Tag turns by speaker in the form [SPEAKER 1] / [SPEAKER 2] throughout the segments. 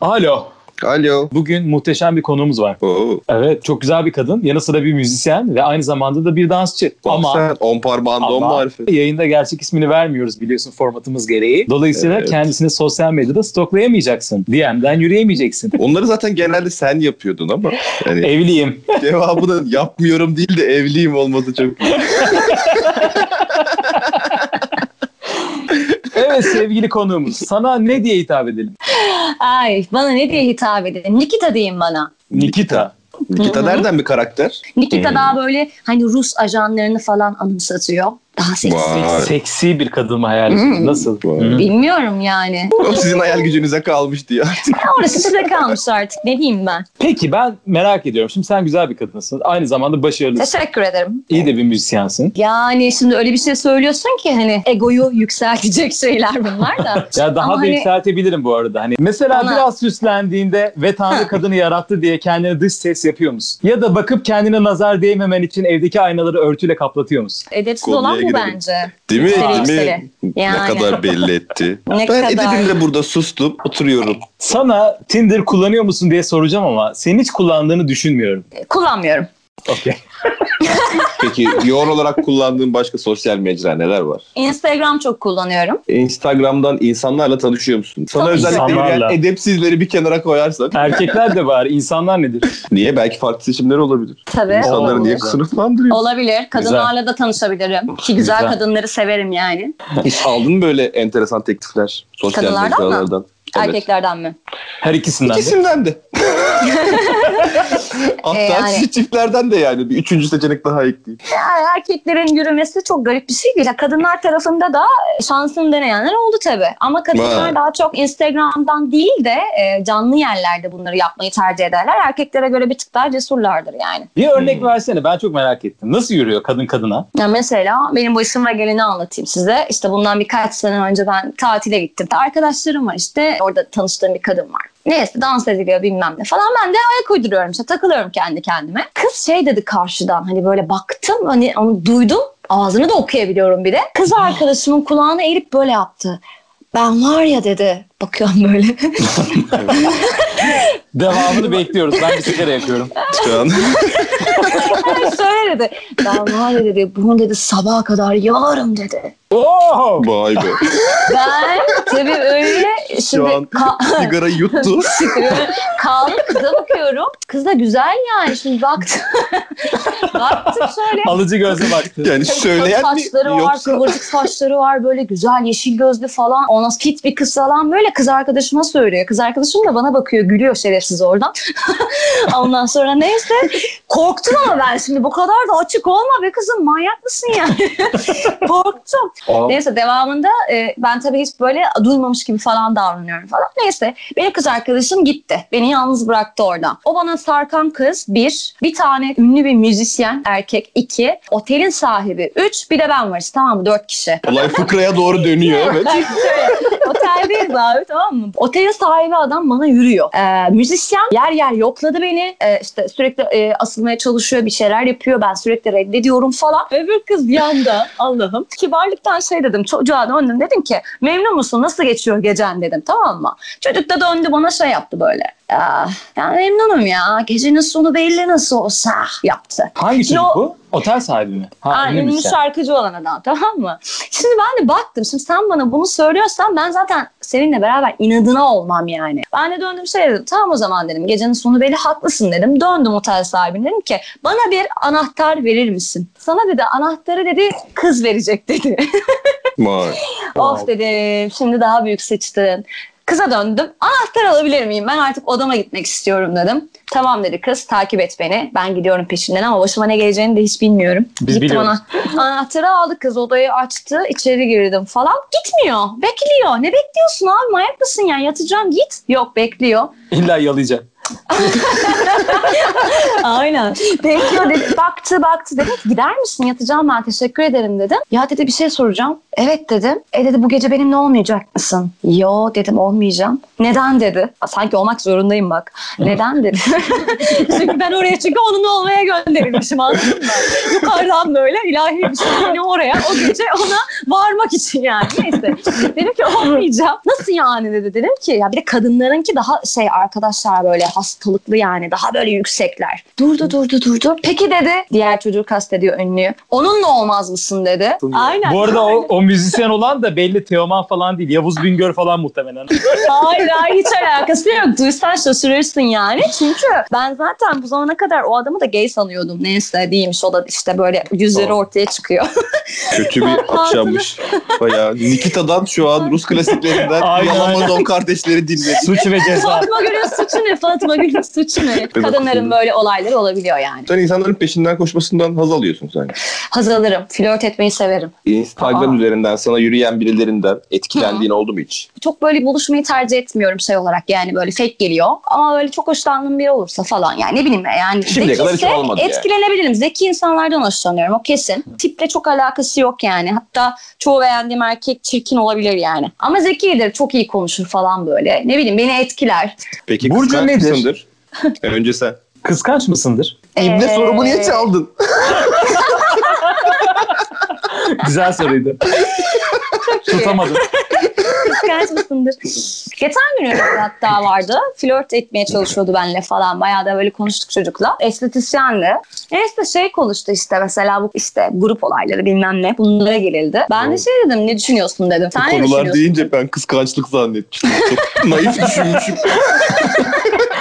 [SPEAKER 1] Alo.
[SPEAKER 2] Alo.
[SPEAKER 1] Bugün muhteşem bir konuğumuz var.
[SPEAKER 2] Oo.
[SPEAKER 1] Evet, çok güzel bir kadın. Yanı sıra bir müzisyen ve aynı zamanda da bir dansçı. Ama
[SPEAKER 2] Ama on parmağında on
[SPEAKER 1] ama
[SPEAKER 2] marifi.
[SPEAKER 1] yayında gerçek ismini vermiyoruz biliyorsun formatımız gereği. Dolayısıyla
[SPEAKER 2] Evet.
[SPEAKER 1] kendisini sosyal medyada stoklayamayacaksın. DM'den yürüyemeyeceksin.
[SPEAKER 2] Onları zaten genelde sen yapıyordun ama yani
[SPEAKER 1] Evliyim.
[SPEAKER 2] cevabı da yapmıyorum değil de evliyim olması çok iyi.
[SPEAKER 1] Evet sevgili konuğumuz. Sana ne diye hitap edelim?
[SPEAKER 3] Ay bana ne diye hitap edin? Nikita deyin bana.
[SPEAKER 1] Nikita.
[SPEAKER 2] Nikita nereden bir karakter?
[SPEAKER 3] Nikita
[SPEAKER 2] Hmm.
[SPEAKER 3] daha böyle hani Rus ajanlarını falan anımsatıyor. Daha seksi.
[SPEAKER 2] Vay.
[SPEAKER 1] Seksi bir kadın mı hayal ediyorsun?
[SPEAKER 3] Hmm.
[SPEAKER 1] Nasıl?
[SPEAKER 2] Vay.
[SPEAKER 1] Hmm.
[SPEAKER 3] Bilmiyorum yani.
[SPEAKER 2] O sizin hayal gücünüze kalmıştı ya.
[SPEAKER 3] Ya Orası size kalmış artık. Ne diyeyim ben?
[SPEAKER 1] Peki ben merak ediyorum. Şimdi sen güzel bir kadınsın. Aynı zamanda başarılısın.
[SPEAKER 3] Teşekkür ederim.
[SPEAKER 1] İyi de bir müzisyensin.
[SPEAKER 3] Yani şimdi öyle bir şey söylüyorsun ki hani egoyu yükseltecek şeyler bunlar da.
[SPEAKER 1] Ya daha
[SPEAKER 3] Ama
[SPEAKER 1] da
[SPEAKER 3] hani-
[SPEAKER 1] yükseltebilirim bu arada. Hani mesela
[SPEAKER 3] Bana-
[SPEAKER 1] biraz süslendiğinde ve Tanrı kadını yarattı diye kendine dış ses yapıyor musun? Ya da bakıp kendine nazar değmemen için evdeki aynaları örtüyle kaplatıyor musun?
[SPEAKER 3] Edepsiz
[SPEAKER 2] Konuya
[SPEAKER 3] olan bu
[SPEAKER 2] girelim.
[SPEAKER 3] bence.
[SPEAKER 2] Değil mi?
[SPEAKER 3] Yükseli,
[SPEAKER 2] Değil mi?
[SPEAKER 3] yükseli. Yani.
[SPEAKER 2] Ne kadar belli etti.
[SPEAKER 3] Ne
[SPEAKER 2] ben
[SPEAKER 3] kadar.
[SPEAKER 2] edebimle burada sustum, oturuyorum.
[SPEAKER 1] Sana Tinder kullanıyor musun diye soracağım ama senin hiç kullandığını düşünmüyorum.
[SPEAKER 3] E, Kullanmıyorum.
[SPEAKER 1] Okey.
[SPEAKER 2] Peki yoğun olarak kullandığın başka sosyal mecra neler var?
[SPEAKER 3] Instagram çok kullanıyorum.
[SPEAKER 2] Instagram'dan insanlarla tanışıyor musun? Sana
[SPEAKER 3] Tabii.
[SPEAKER 2] özellikle
[SPEAKER 1] İnsanlarla.
[SPEAKER 2] yani edepsizleri bir kenara koyarsak.
[SPEAKER 1] Erkekler de var. İnsanlar nedir?
[SPEAKER 2] Niye? Belki farklı seçimleri olabilir.
[SPEAKER 3] Tabii.
[SPEAKER 2] İnsanları
[SPEAKER 1] Olabilir.
[SPEAKER 2] niye sınıflandırıyorsun?
[SPEAKER 3] Olabilir. Kadınlarla da tanışabilirim. Ki güzel,
[SPEAKER 1] Güzel.
[SPEAKER 3] kadınları severim yani.
[SPEAKER 2] Hiç aldın mı böyle enteresan teklifler sosyal
[SPEAKER 3] Kadınlardan mı?
[SPEAKER 2] medyalardan? Evet.
[SPEAKER 3] Erkeklerden mi?
[SPEAKER 1] Her ikisinden de.
[SPEAKER 2] İkisinden de. Hatta
[SPEAKER 3] E, yani.
[SPEAKER 2] siz çiftlerden de yani bir üçüncü seçenek daha ekleyeyim.
[SPEAKER 3] Yani er-, erkeklerin yürümesi çok garip bir şey değil. Ya Kadınlar tarafında da e, şansını deneyenler oldu tabii. Ama kadınlar
[SPEAKER 2] Vay.
[SPEAKER 3] daha çok Instagram'dan değil de e, canlı yerlerde bunları yapmayı tercih ederler. Erkeklere göre bir tık daha cesurlardır yani.
[SPEAKER 1] Bir örnek versene. Ben çok merak ettim. Nasıl yürüyor kadın kadına?
[SPEAKER 3] Ya mesela benim başıma geleni anlatayım size. İşte bundan birkaç sene önce ben tatile gittim. Arkadaşlarım var işte. Orada tanıştığım bir kadın var. Neyse dans ediliyor bilmem ne falan. Ben de ayak uyduruyorum işte takılıyorum kendi kendime. Kız şey dedi karşıdan hani böyle baktım hani onu duydum. Ağzını da okuyabiliyorum bir de. Kız arkadaşımın kulağına eğilip böyle yaptı. Ben var ya dedi. Bakıyorum böyle.
[SPEAKER 1] Devamını bekliyoruz. Ben bir sigara yakıyorum.
[SPEAKER 2] Şu an
[SPEAKER 3] Söyle dedi. Ben var ya dedi. Bunu dedi sabaha kadar yalarım dedi.
[SPEAKER 1] Oo!
[SPEAKER 2] vay be.
[SPEAKER 3] Ben tabii öyle. Şimdi
[SPEAKER 2] an-
[SPEAKER 3] ka-
[SPEAKER 2] Sigara yuttu.
[SPEAKER 3] Kaldım kıza bakıyorum. Kız da güzel yani. Şimdi baktım. baktım şöyle.
[SPEAKER 1] Alıcı gözle baktı.
[SPEAKER 2] Yani söyleyen mi
[SPEAKER 3] saçları var,
[SPEAKER 2] yoksa
[SPEAKER 3] kıvırcık saçları var böyle güzel yeşil gözlü falan. Ondan sonra fit bir kız falan böyle kız arkadaşıma söylüyor. Kız arkadaşım da bana bakıyor gülüyor şerefsiz oradan. Ondan sonra neyse korktum ama ben şimdi bu kadar da açık olma be kızım manyak mısın yani? korktum.
[SPEAKER 2] Aa,
[SPEAKER 3] Neyse devamında e, ben tabii hiç böyle duymamış gibi falan davranıyorum falan. Neyse benim kız arkadaşım gitti. Beni yalnız bıraktı orada. O bana sarkan kız bir. Bir tane ünlü bir müzisyen erkek iki. Otelin sahibi üç. Bir de ben varız tamam mı? Dört kişi.
[SPEAKER 2] olay fıkraya doğru dönüyor evet.
[SPEAKER 3] Belki şöyle, Oteldeyiz abi tamam mı? Otelin sahibi adam bana yürüyor. Ee, müzisyen yer yer yokladı beni. Ee, işte sürekli e, asılmaya çalışıyor bir şeyler yapıyor. Ben sürekli reddediyorum falan. Öbür kız yanda Allah'ım. Kibarlıktan şey dedim çocuğa döndüm dedim ki memnun musun nasıl geçiyor gecen dedim tamam mı? Çocuk da döndü bana şey yaptı böyle. "Aa, ya memnunum ya gecenin sonu belli nasıl olsa yaptı.
[SPEAKER 1] Hangi çocuk
[SPEAKER 3] Yo-
[SPEAKER 1] bu? Otel sahibi mi? Ha, şey.
[SPEAKER 3] Aa,
[SPEAKER 1] ünlü
[SPEAKER 3] ünlü
[SPEAKER 1] müzisyen.
[SPEAKER 3] şarkıcı olan adam tamam mı? Şimdi ben de baktım. Şimdi sen bana bunu söylüyorsan ben zaten seninle beraber inadına olmam yani. Ben de döndüm şey dedim. Tamam o zaman dedim. Gecenin sonu belli haklısın dedim. Döndüm otel sahibine dedim ki bana bir anahtar verir misin? Sana dedi anahtarı dedi kız verecek dedi.
[SPEAKER 2] Vay.
[SPEAKER 3] of dedim şimdi daha büyük seçtin. Kıza döndüm. Anahtar alabilir miyim? Ben artık odama gitmek istiyorum dedim. Tamam dedi kız takip et beni. Ben gidiyorum peşinden ama başıma ne geleceğini de hiç bilmiyorum.
[SPEAKER 1] Biz biliyoruz.
[SPEAKER 3] ana- anahtarı aldı kız odayı açtı. içeri girdim falan. Gitmiyor. Bekliyor. Ne bekliyorsun abi? Manyak mısın yani? Yatacağım git. Yok bekliyor.
[SPEAKER 1] İlla yalayacak.
[SPEAKER 3] Aynen. Bekliyor dedi. Baktı baktı dedi. ki, Gider misin? Yatacağım ben. Teşekkür ederim dedim. Ya dedi bir şey soracağım. Evet dedim. E dedi bu gece benimle olmayacak mısın? Yo dedim olmayacağım. Neden dedi. "Aa, Sanki olmak zorundayım bak. Neden dedi. çünkü ben oraya çünkü onunla olmaya gönderilmişim anladın mı? Yukarıdan böyle ilahi bir şey beni oraya o gece ona varmak için yani. Neyse. Dedim ki olmayacağım. Nasıl yani dedi. Dedim ki ya bir de kadınlarınki daha şey arkadaşlar böyle hastalıklı yani daha böyle yüksekler. Durdu durdu durdu. Peki dedi diğer çocuğu kastediyor ünlüyü. Onunla olmaz mısın dedi.
[SPEAKER 2] Çok iyi.
[SPEAKER 3] Aynen.
[SPEAKER 4] Bu arada o, o müzisyen olan da belli Teoman falan değil. Yavuz Bingöl falan muhtemelen.
[SPEAKER 3] Hayır hayır hiç alakası yok. Duysan şaşırırsın yani. Çünkü ben zaten bu zamana kadar o adamı da gay sanıyordum. Neyse değilmiş o da işte böyle yüzleri
[SPEAKER 2] Doğru.
[SPEAKER 3] ortaya çıkıyor.
[SPEAKER 2] Kötü bir akşammış. Bayağı Nikita'dan şu an Rus klasiklerinden
[SPEAKER 4] Aynen,
[SPEAKER 2] Yalamazon kardeşleri dinledik.
[SPEAKER 4] Suç ve ceza.
[SPEAKER 3] Fatma Gül'ün suçu ne? Fatma Gül'ün suçu ne?
[SPEAKER 2] Ben
[SPEAKER 3] Kadınların
[SPEAKER 2] okudum.
[SPEAKER 3] böyle olayları olabiliyor yani.
[SPEAKER 2] Sen insanların peşinden koşmasından haz alıyorsun sanki.
[SPEAKER 3] Haz alırım. Flört etmeyi severim.
[SPEAKER 2] Instagram
[SPEAKER 3] Aa.
[SPEAKER 2] üzerinden sana yürüyen birilerinden etkilendiğin oldu mu hiç?
[SPEAKER 3] Çok böyle buluşmayı tercih etmiyorum şey olarak yani böyle fake geliyor. Ama böyle çok hoşlandığım biri olursa falan yani ne bileyim yani.
[SPEAKER 2] Şimdiye kadar hiç olmadı yani.
[SPEAKER 3] etkilenebilirim. Zeki insanlardan hoşlanıyorum o kesin. Tiple çok alakası yok yani. Hatta çoğu beğendiğim erkek çirkin olabilir yani. Ama zekidir çok iyi konuşur falan böyle. Ne bileyim beni etkiler.
[SPEAKER 2] Peki
[SPEAKER 4] Burcu
[SPEAKER 2] kıskanç
[SPEAKER 4] nedir?
[SPEAKER 2] mısındır? E, Önce sen.
[SPEAKER 4] Kıskanç mısındır?
[SPEAKER 2] İbne
[SPEAKER 3] Ee,
[SPEAKER 2] sorumu niye çaldın?
[SPEAKER 4] Güzel soruydu. Tutamadım.
[SPEAKER 3] Kıskanç mısındır? Geçen gün öyle bir hatta vardı. Flört etmeye çalışıyordu benimle falan. Bayağı da böyle konuştuk çocukla. Estetisyendi. Neyse şey konuştu işte mesela bu işte grup olayları bilmem ne bunlara girildi. Ben de şey dedim ne düşünüyorsun dedim. Sen ne
[SPEAKER 2] Bu konular
[SPEAKER 3] düşünüyorsun?
[SPEAKER 2] deyince ben kıskançlık zannettim. Çok naif düşünmüşüm.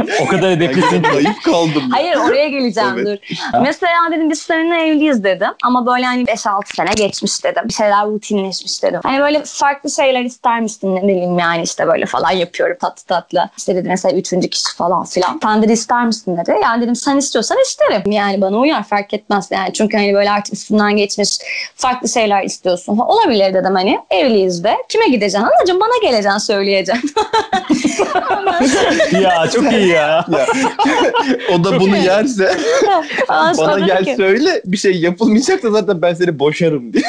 [SPEAKER 4] O kadar
[SPEAKER 2] Hakikaten
[SPEAKER 4] edeplisiyim.
[SPEAKER 2] naif kaldım. ya.
[SPEAKER 3] Hayır oraya geleceğim
[SPEAKER 2] Evet.
[SPEAKER 3] dur. Mesela dedim biz seninle evliyiz dedim. Ama böyle hani 5-6 sene geçmiş dedim. Bir şeyler rutinleşmiş dedim. Hani böyle farklı şeyler ister misin ne bileyim yani işte böyle falan yapıyorum tatlı tatlı. İşte dedi mesela üçüncü kişi falan filan. Sen dedi ister misin dedi. Yani dedim sen istiyorsan isterim. Yani bana uyar fark etmez. Yani çünkü hani böyle artık üstünden geçmiş farklı şeyler istiyorsun. falan. Olabilir dedim hani evliyiz de. Kime gideceksin anacığım bana geleceksin söyleyeceksin.
[SPEAKER 4] Ya çok iyi ya.
[SPEAKER 2] Ya, o da bunu yerse
[SPEAKER 3] Ondan sonra
[SPEAKER 2] bana
[SPEAKER 3] dedi
[SPEAKER 2] gel
[SPEAKER 3] ki,
[SPEAKER 2] söyle bir şey yapılmayacak da zaten ben seni boşarım diye.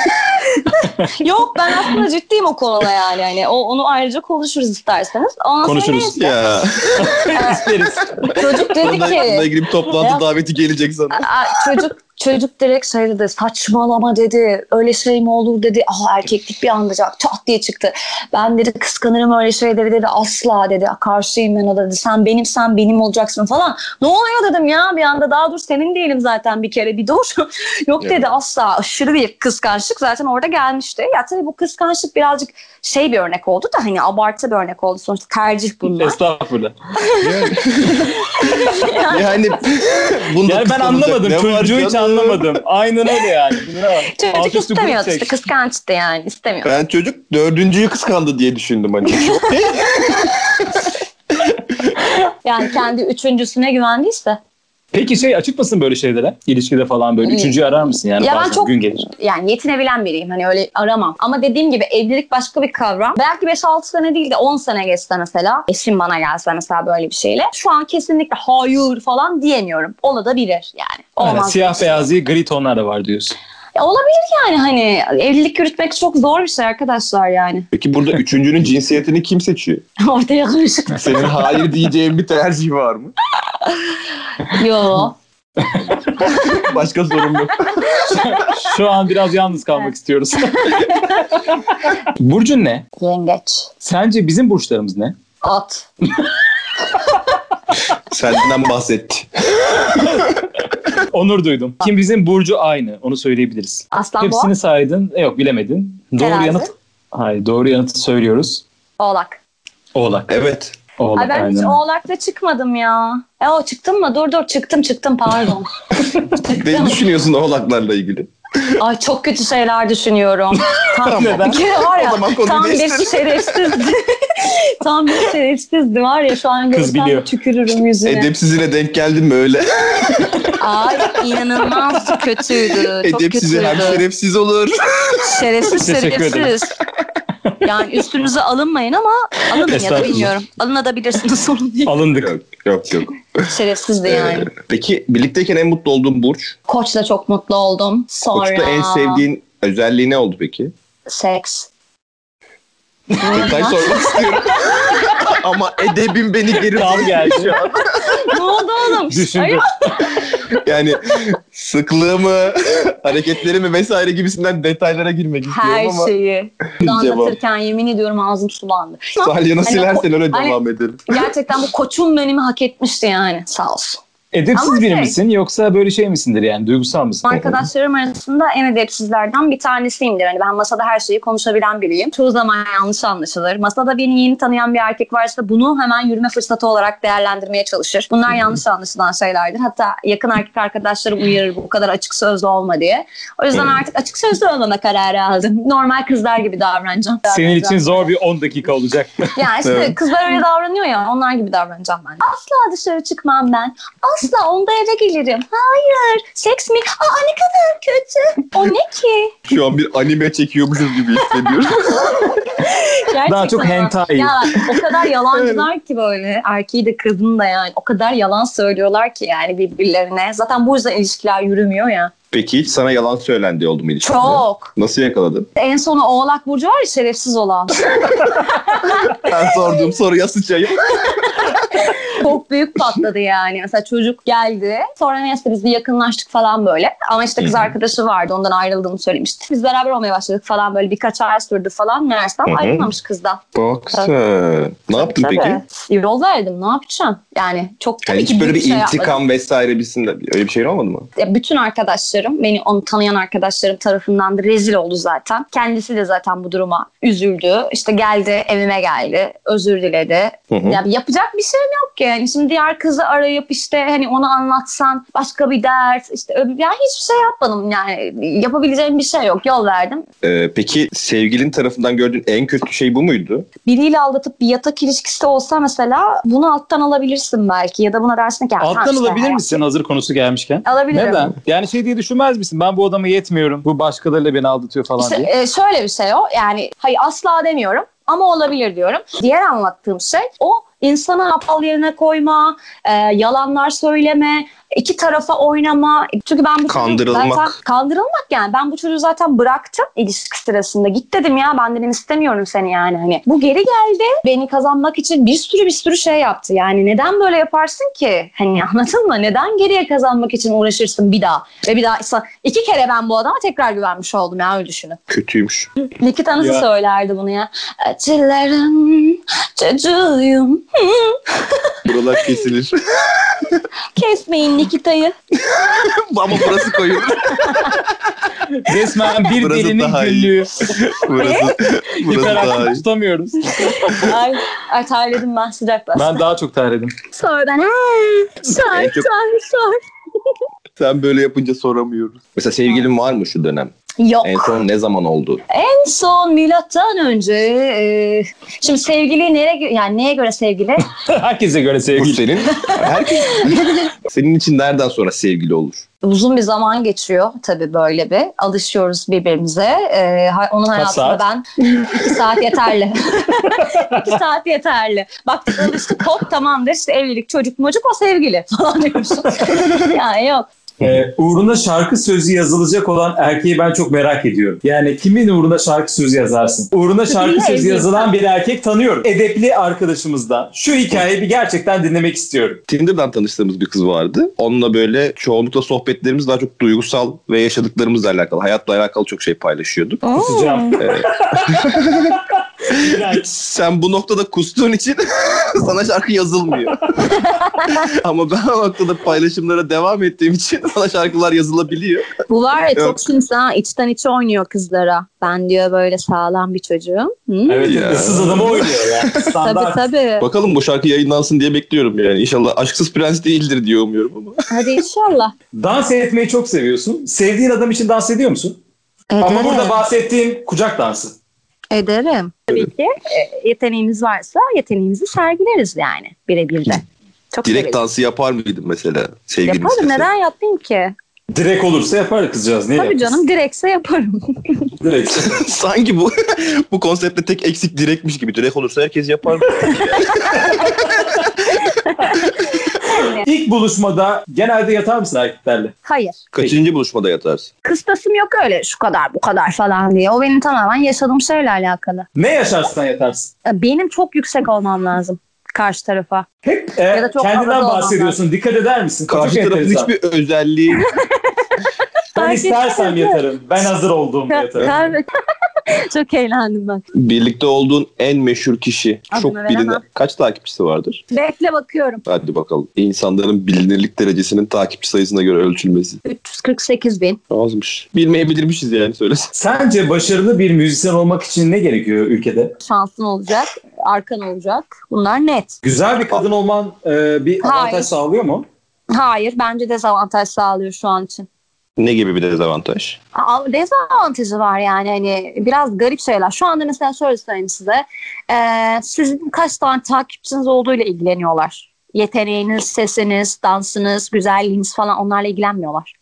[SPEAKER 3] Yok ben aslında ciddiyim o konuda yani. yani o, onu ayrıca konuşuruz isterseniz. Ondan sonra
[SPEAKER 4] Konuşuruz.
[SPEAKER 2] ya.
[SPEAKER 4] İsteriz.
[SPEAKER 3] neyse, çocuk dedi
[SPEAKER 2] Bununla, bununla
[SPEAKER 3] ki
[SPEAKER 2] ilgili bir toplantı
[SPEAKER 3] Ya.
[SPEAKER 2] daveti gelecek sana.
[SPEAKER 3] Aa, çocuk çocuk direkt şey dedi saçmalama dedi öyle şey mi olur dedi aha erkeklik bir andacak çat diye çıktı ben dedi kıskanırım öyle şeyleri dedi asla dedi karşıyım ben o dedi sen benim sen benim olacaksın falan ne oluyor dedim ya bir anda daha dur senin değilim zaten bir kere bir dur yok dedi
[SPEAKER 2] Evet.
[SPEAKER 3] asla aşırı bir kıskançlık zaten orada gelmişti ya tabii bu kıskançlık birazcık şey bir örnek oldu da hani abartı bir örnek oldu sonuçta tercih bunlar
[SPEAKER 4] Estağfurullah.
[SPEAKER 2] Yani, yani bunda
[SPEAKER 4] Yani ben
[SPEAKER 2] kıskanılacak
[SPEAKER 4] anlamadım.
[SPEAKER 2] ne var
[SPEAKER 4] Çocuğu hiç
[SPEAKER 2] canım?
[SPEAKER 4] anlamadım. Aynen öyle yani. Buna bak. Alt
[SPEAKER 3] çocuk
[SPEAKER 4] üstü
[SPEAKER 3] istemiyordu
[SPEAKER 4] gurur
[SPEAKER 3] işte
[SPEAKER 4] çek.
[SPEAKER 3] kıskançtı yani istemiyordu.
[SPEAKER 2] Ben çocuk dördüncüyü kıskandı diye düşündüm hani.
[SPEAKER 3] Yani kendi üçüncüsüne güvendiyse.
[SPEAKER 4] Peki şey açık mısın böyle şeylere? İlişkide falan böyle.
[SPEAKER 3] Hmm.
[SPEAKER 4] Üçüncüyü arar mısın yani?
[SPEAKER 3] Ya ben
[SPEAKER 4] bazen
[SPEAKER 3] çok-
[SPEAKER 4] Gün gelir.
[SPEAKER 3] Yani yetinebilen biriyim. Hani öyle aramam. Ama dediğim gibi evlilik başka bir kavram. Belki 5-6 sene değil de 10 sene geçse mesela. Eşim bana gelse mesela böyle bir şeyle. Şu an kesinlikle hayır falan diyemiyorum. Olabilir yani. Olmaz.
[SPEAKER 4] Evet, siyah beyaz değil gri tonlar da var diyorsun.
[SPEAKER 3] Ya olabilir yani hani. Evlilik yürütmek çok zor bir şey arkadaşlar yani.
[SPEAKER 2] Peki burada üçüncünün cinsiyetini kim seçiyor?
[SPEAKER 3] Ortaya karışık.
[SPEAKER 2] Senin hayır diyeceğin bir tercih var mı?
[SPEAKER 3] Yo.
[SPEAKER 2] Başka sorun yok.
[SPEAKER 4] Şu an biraz yalnız kalmak
[SPEAKER 3] Evet.
[SPEAKER 4] istiyoruz. Burcun ne?
[SPEAKER 3] Yengeç.
[SPEAKER 4] Sence bizim burçlarımız ne?
[SPEAKER 3] At.
[SPEAKER 2] Senden bahsetti.
[SPEAKER 4] Onur duydum. Kim bizim burcu aynı. Onu söyleyebiliriz.
[SPEAKER 3] Aslan boğa.
[SPEAKER 4] Hepsini saydın. E, yok bilemedin. Doğru
[SPEAKER 3] Terazi.
[SPEAKER 4] yanıt. Hayır doğru yanıtı söylüyoruz.
[SPEAKER 3] Oğlak.
[SPEAKER 4] Oğlak.
[SPEAKER 2] Evet.
[SPEAKER 4] Oğlak
[SPEAKER 3] Ay ben hiç
[SPEAKER 4] aynen.
[SPEAKER 3] oğlakta çıkmadım ya. E o çıktın mı? Dur dur çıktım çıktım pardon.
[SPEAKER 2] Ne düşünüyorsun oğlaklarla ilgili?
[SPEAKER 3] Ay çok kötü şeyler düşünüyorum. Tam,
[SPEAKER 4] Neden?
[SPEAKER 3] bir kere var ya,
[SPEAKER 2] O zaman konuyu
[SPEAKER 3] tam bir
[SPEAKER 2] değiştirelim.
[SPEAKER 3] şerefsizdi. tam bir şerefsizdi var ya şu an
[SPEAKER 4] Kız
[SPEAKER 3] görsem
[SPEAKER 4] biliyor.
[SPEAKER 3] tükürürüm yüzüne.
[SPEAKER 2] Edepsizine denk geldin mi öyle?
[SPEAKER 3] Ay inanılmaz kötüydü. Çok
[SPEAKER 2] Edepsizi
[SPEAKER 3] kötüydü.
[SPEAKER 2] hem şerefsiz olur.
[SPEAKER 3] Şerefsiz
[SPEAKER 4] Teşekkür ederim.
[SPEAKER 3] şerefsiz. Yani üstünüze alınmayın ama alının ya da
[SPEAKER 4] Estağfurullah.
[SPEAKER 3] bilmiyorum. Alınabilirsiniz sorun değil.
[SPEAKER 4] Alındık.
[SPEAKER 2] Yok yok yok.
[SPEAKER 3] Şerefsiz de
[SPEAKER 2] Ee,
[SPEAKER 3] yani.
[SPEAKER 2] peki birlikteyken en mutlu olduğun Burç?
[SPEAKER 3] Koçla çok mutlu oldum. Sonra
[SPEAKER 2] Koç'ta en sevdiğin özelliği ne oldu peki?
[SPEAKER 3] seks.
[SPEAKER 2] Detay sormak istiyorum. Ama edebim beni geri
[SPEAKER 4] Tam geldi şu an.
[SPEAKER 3] ne oldu oğlum?
[SPEAKER 4] Düşündüm.
[SPEAKER 3] Hayır,
[SPEAKER 2] Yani sıklığı mı, hareketleri mi vesaire gibisinden detaylara girmek istiyorum
[SPEAKER 3] her şey.
[SPEAKER 2] ama
[SPEAKER 3] şeyi. Bunu
[SPEAKER 2] Cevap.
[SPEAKER 3] anlatırken yemin ediyorum ağzım sulandı.
[SPEAKER 2] salyanı
[SPEAKER 3] Hani
[SPEAKER 2] silersen öyle
[SPEAKER 3] hani-
[SPEAKER 2] devam edelim.
[SPEAKER 3] Gerçekten bu koçun menimi hak etmişti yani. Sağ olsun.
[SPEAKER 4] Edepsiz
[SPEAKER 3] Ama
[SPEAKER 4] biri
[SPEAKER 3] şey-
[SPEAKER 4] misin yoksa böyle şey misindir yani duygusal mısın?
[SPEAKER 3] Arkadaşlarım arasında en edepsizlerden bir tanesiyimdir. Hani ben masada her şeyi konuşabilen biriyim. Çoğu zaman yanlış anlaşılır. Masada beni yeni tanıyan bir erkek varsa bunu hemen yürüme fırsatı olarak değerlendirmeye çalışır. Bunlar yanlış anlaşılan şeylerdir. Hatta yakın erkek arkadaşlarım uyarır bu kadar açık sözlü olma diye. O yüzden artık açık sözlü olmama kararı aldım. Normal kızlar gibi davranacağım.
[SPEAKER 4] Senin
[SPEAKER 3] Davranacağım.
[SPEAKER 4] için zor bir 10 dakika olacak.
[SPEAKER 3] Yani işte
[SPEAKER 2] Evet.
[SPEAKER 3] kızlar öyle davranıyor ya onlar gibi davranacağım ben. Asla dışarı çıkmam ben. Asla onda eve gelirim. Hayır. Seks mi? Aa ne kadar kötü. O ne ki?
[SPEAKER 2] Şu an bir anime çekiyormuşuz gibi hissediyorum.
[SPEAKER 3] Gerçekten.
[SPEAKER 4] Daha çok hentai.
[SPEAKER 3] Ya o kadar yalancılar ki böyle erkeği de kadını da yani o kadar yalan söylüyorlar ki yani birbirlerine. Zaten bu yüzden ilişkiler yürümüyor ya.
[SPEAKER 2] Peki hiç sana yalan söylendi oldu mu ilişkide?
[SPEAKER 3] Çok.
[SPEAKER 2] Nasıl yakaladın?
[SPEAKER 3] En sonu Oğlak Burcu var ya şerefsiz olan.
[SPEAKER 2] Ben sorduğum soruya sıçayım.
[SPEAKER 3] Çok büyük patladı yani. Mesela çocuk geldi. Sonra neyse biz bir yakınlaştık falan böyle. Ama işte kız
[SPEAKER 2] Hı hı.
[SPEAKER 3] arkadaşı vardı. Ondan ayrıldığımı söylemişti. Biz beraber olmaya başladık falan böyle. Birkaç ay sürdü falan.
[SPEAKER 2] Hı
[SPEAKER 3] Meğersem
[SPEAKER 2] hı.
[SPEAKER 3] ayrılmamış kızdan.
[SPEAKER 2] Bak sen. Ne yaptın
[SPEAKER 3] Tabii.
[SPEAKER 2] peki?
[SPEAKER 3] Yol verdim. Ne yapacağım? Yani çok
[SPEAKER 2] Yani
[SPEAKER 3] tabii ki
[SPEAKER 2] hiç böyle
[SPEAKER 3] büyük
[SPEAKER 2] bir
[SPEAKER 3] şey
[SPEAKER 2] intikam
[SPEAKER 3] yapmadım.
[SPEAKER 2] vesaire birisinde öyle bir şey olmadı mı?
[SPEAKER 3] Ya bütün arkadaşlarım, beni onu tanıyan arkadaşlarım tarafından da rezil oldu zaten. Kendisi de zaten bu duruma üzüldü. İşte geldi, evime geldi. Özür diledi.
[SPEAKER 2] Hı hı.
[SPEAKER 3] Ya yapacak bir şeyim yok ki. Yani şimdi diğer kızı arayıp işte hani onu anlatsan başka bir dert işte öbür yani hiçbir şey yapmadım yani yapabileceğim bir şey yok. Yol verdim.
[SPEAKER 2] Ee, peki sevgilin tarafından gördüğün en kötü şey bu muydu?
[SPEAKER 3] Biriyle aldatıp bir yatak ilişkisi olsa mesela bunu alttan alabilirsin belki ya da buna dersin ki "Ya tamam
[SPEAKER 4] Alttan
[SPEAKER 3] işte,
[SPEAKER 4] alabilir
[SPEAKER 3] yani."
[SPEAKER 4] misin hazır konusu gelmişken?
[SPEAKER 3] Alabilirim.
[SPEAKER 4] Neden? Yani şey diye düşünmez misin? Ben bu adama yetmiyorum. Bu başkalarıyla beni aldatıyor falan
[SPEAKER 3] İşte,
[SPEAKER 4] diye.
[SPEAKER 3] e, şöyle bir şey o yani hayır asla demiyorum ama olabilir diyorum. Diğer anlattığım şey o insanı aptal yerine koyma, e, yalanlar söyleme, iki tarafa oynama. Çünkü ben bu çocuğu
[SPEAKER 2] Kandırılmak.
[SPEAKER 3] zaten kandırılmak yani. Ben bu çocuğu zaten bıraktım ilişki sırasında. Git dedim ya ben dedim istemiyorum seni yani hani. Bu geri geldi. Beni kazanmak için bir sürü bir sürü şey yaptı. Yani neden böyle yaparsın ki? Hani anladın mı? Neden geriye kazanmak için uğraşırsın bir daha? Ve bir daha iki kere ben bu adama tekrar güvenmiş oldum ya öyle düşünün.
[SPEAKER 2] Kötüymüş.
[SPEAKER 3] Nikita nasıl
[SPEAKER 4] Ya.
[SPEAKER 3] söylerdi bunu ya? Acıların çocuğuyum.
[SPEAKER 2] Buralar kesilir.
[SPEAKER 3] Kesmeyin Nikita'yı.
[SPEAKER 2] Ama burası koyulur.
[SPEAKER 4] Resmen bir
[SPEAKER 2] Burası
[SPEAKER 4] delinin
[SPEAKER 2] daha iyi.
[SPEAKER 4] güllüğü.
[SPEAKER 2] burası, burası daha
[SPEAKER 4] Hiperaktif
[SPEAKER 2] iyi.
[SPEAKER 4] tutamıyoruz.
[SPEAKER 3] Ay, ay terledim ben sıcakla.
[SPEAKER 4] Ben daha çok terledim.
[SPEAKER 3] Sor ben. Sor,
[SPEAKER 2] En çok-
[SPEAKER 3] sor, sor.
[SPEAKER 2] Sen böyle yapınca soramıyoruz. Mesela sevgilin var mı şu dönem?
[SPEAKER 3] Yok.
[SPEAKER 2] En son ne zaman oldu?
[SPEAKER 3] En son milattan önce e, şimdi sevgili nereye gö- yani neye göre sevgili?
[SPEAKER 4] Herkese göre
[SPEAKER 2] Bu
[SPEAKER 4] sevgili.
[SPEAKER 2] senin. Herkes. senin için nereden sonra sevgili olur?
[SPEAKER 3] Uzun bir zaman geçiyor tabii böyle bir. Alışıyoruz birbirimize. E, ha- onun hayatında
[SPEAKER 4] saat?
[SPEAKER 3] ben iki saat yeterli. iki saat yeterli. Baktık alıştık hop tamamdır işte evlilik çocuk mocuk o sevgili falan diyormuşum. yani yok.
[SPEAKER 1] Ee, uğruna şarkı sözü yazılacak olan erkeği ben çok merak ediyorum. Yani kimin uğruna şarkı sözü yazarsın? Uğruna şarkı
[SPEAKER 3] Bilmiyorum
[SPEAKER 1] sözü
[SPEAKER 3] insan.
[SPEAKER 1] yazılan bir erkek tanıyorum. Edepli arkadaşımızdan. Şu hikayeyi bir gerçekten dinlemek istiyorum.
[SPEAKER 2] Tinder'dan tanıştığımız bir kız vardı. Onunla böyle çoğunlukla sohbetlerimiz daha çok duygusal ve yaşadıklarımızla alakalı, hayatla alakalı çok şey paylaşıyorduk.
[SPEAKER 3] Hmm.
[SPEAKER 1] Kusacağım. İğrenç.
[SPEAKER 2] Sen bu noktada kustuğun için sana şarkı yazılmıyor. Ama ben o noktada paylaşımlara devam ettiğim için sana şarkılar yazılabiliyor.
[SPEAKER 3] Bu var ya çok
[SPEAKER 2] Yok.
[SPEAKER 3] sinsi ha içten içe oynuyor kızlara. Ben diyor böyle sağlam bir çocuğum. Hı?
[SPEAKER 1] Evet,
[SPEAKER 2] Ya.
[SPEAKER 1] ıssız adamı oynuyor ya.
[SPEAKER 3] Tabii
[SPEAKER 1] Standart.
[SPEAKER 3] tabii.
[SPEAKER 2] Bakalım bu şarkı yayınlansın diye bekliyorum yani. İnşallah Aşksız Prens değildir diye umuyorum ama.
[SPEAKER 3] Hadi inşallah.
[SPEAKER 1] Dans etmeyi çok seviyorsun. Sevdiğin adam için dans ediyor musun? Ama burada bahsettiğim kucak dansı.
[SPEAKER 3] Ederim. Tabii ki e, yeteneğimiz varsa yeteneğimizi sergileriz yani birebir de. Çok
[SPEAKER 2] Direkt
[SPEAKER 3] severiz.
[SPEAKER 2] dansı yapar mıydım mesela sevgilin
[SPEAKER 3] Yaparım
[SPEAKER 2] istese?
[SPEAKER 3] neden yapayım ki?
[SPEAKER 1] Direkt olursa yapar kızcağız. Niye
[SPEAKER 3] Tabii
[SPEAKER 1] yapmasın?
[SPEAKER 3] canım direkse yaparım.
[SPEAKER 1] Direkt.
[SPEAKER 2] Sanki bu bu konseptte tek eksik direkmiş gibi. Direk olursa herkes yapar.
[SPEAKER 1] İlk buluşmada genelde yatar mısın erkeklerle?
[SPEAKER 3] Hayır.
[SPEAKER 2] Kaçıncı buluşmada yatarsın?
[SPEAKER 3] Kıstasım yok öyle şu kadar bu kadar falan diye. O benim tamamen yaşadığım şeyle alakalı.
[SPEAKER 1] Ne yaşarsan yatarsın.
[SPEAKER 3] E, Benim çok yüksek olmam lazım karşı tarafa.
[SPEAKER 1] Hep e,
[SPEAKER 3] Ya da çok
[SPEAKER 1] kendinden
[SPEAKER 3] havada olmam
[SPEAKER 1] bahsediyorsun. Dikkat eder misin?
[SPEAKER 2] Karşı
[SPEAKER 1] Çok
[SPEAKER 2] tarafın
[SPEAKER 1] enteresan.
[SPEAKER 2] hiçbir özelliği
[SPEAKER 1] Ben
[SPEAKER 3] Fark
[SPEAKER 1] istersem
[SPEAKER 3] etmez.
[SPEAKER 1] yatarım. Ben hazır olduğumda yatarım.
[SPEAKER 3] çok eğlendim ben.
[SPEAKER 2] birlikte olduğun en meşhur kişi.
[SPEAKER 3] Adını
[SPEAKER 2] çok
[SPEAKER 3] veremem.
[SPEAKER 2] bilinen. Kaç takipçisi vardır?
[SPEAKER 3] Bekle bakıyorum.
[SPEAKER 2] Hadi bakalım. İnsanların bilinirlik derecesinin takipçi sayısına göre ölçülmesi.
[SPEAKER 3] 348 bin.
[SPEAKER 2] Azmış. Bilmeyebilirmişiz yani söylesen.
[SPEAKER 1] Sence başarılı bir müzisyen olmak için ne gerekiyor ülkede?
[SPEAKER 3] Şansın olacak. Arkan olacak. Bunlar net.
[SPEAKER 1] Güzel bir kadın olman e, bir
[SPEAKER 3] Hayır.
[SPEAKER 1] avantaj sağlıyor mu?
[SPEAKER 3] Hayır bence dezavantaj sağlıyor şu an için.
[SPEAKER 2] Ne gibi bir dezavantaj?
[SPEAKER 3] Aa, Dezavantajı var yani hani biraz garip şeyler. Şu anda mesela şöyle söyleyeyim size. Ee, sizin kaç tane takipçiniz olduğuyla ilgileniyorlar. Yeteneğiniz, sesiniz, dansınız, güzelliğiniz falan onlarla ilgilenmiyorlar.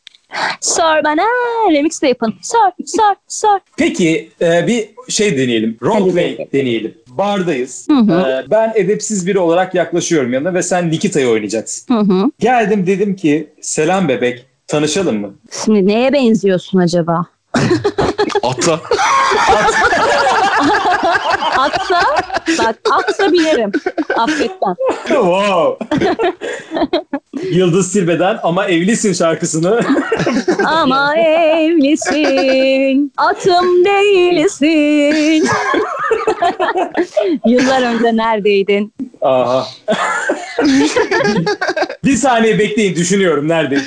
[SPEAKER 3] Sor bana remix de yapın. Sor, sor, sor.
[SPEAKER 1] Peki e, bir şey deneyelim. Roleplay
[SPEAKER 3] Hadi.
[SPEAKER 1] deneyelim. Bardayız.
[SPEAKER 3] Hı hı.
[SPEAKER 1] E, ben edepsiz biri olarak yaklaşıyorum yanına ve sen Nikita'yı oynayacaksın.
[SPEAKER 3] Hı hı.
[SPEAKER 1] Geldim dedim ki selam bebek tanışalım mı?
[SPEAKER 3] Şimdi neye benziyorsun acaba?
[SPEAKER 2] Ata.
[SPEAKER 3] Atsa, bak atsa bilirim. Affetmem.
[SPEAKER 1] wow. Yıldız Silbe'den ama evlisin şarkısını
[SPEAKER 3] Ama evlisin, atım değilsin. Yıllar önce neredeydin?
[SPEAKER 1] Aha. bir saniye bekleyin düşünüyorum nerede.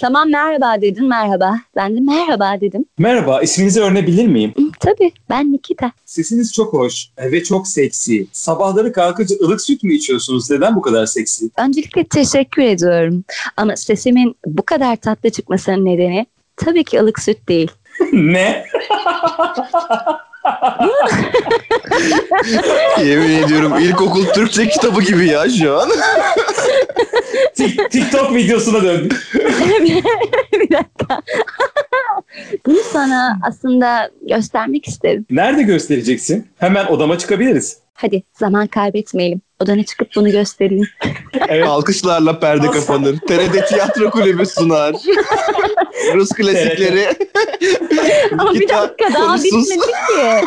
[SPEAKER 3] Tamam merhaba dedin merhaba. Ben de merhaba dedim.
[SPEAKER 1] Merhaba isminizi öğrenebilir miyim?
[SPEAKER 3] Hı, tabii ben Nikita.
[SPEAKER 1] Sesiniz çok hoş ve çok seksi. Sabahları kalkınca ılık süt mü içiyorsunuz? Neden bu kadar seksi?
[SPEAKER 3] Öncelikle teşekkür ediyorum. Ama sesimin bu kadar tatlı çıkmasının nedeni tabii ki ılık süt değil.
[SPEAKER 1] ne?
[SPEAKER 2] Yemin ediyorum ilkokul Türkçe kitabı gibi ya şu an.
[SPEAKER 1] Tik- TikTok videosuna döndü.
[SPEAKER 3] bir dakika. Bunu sana aslında göstermek isterim.
[SPEAKER 1] Nerede göstereceksin? Hemen odama çıkabiliriz.
[SPEAKER 3] Hadi zaman kaybetmeyelim. Odana çıkıp bunu göstereyim.
[SPEAKER 1] Evet.
[SPEAKER 2] Alkışlarla perde kapanır. TRT Tiyatro Kulübü sunar. Rus klasikleri.
[SPEAKER 3] Ama bir
[SPEAKER 2] Nikita,
[SPEAKER 3] dakika daha
[SPEAKER 2] konusuz.
[SPEAKER 3] bitmedi ki.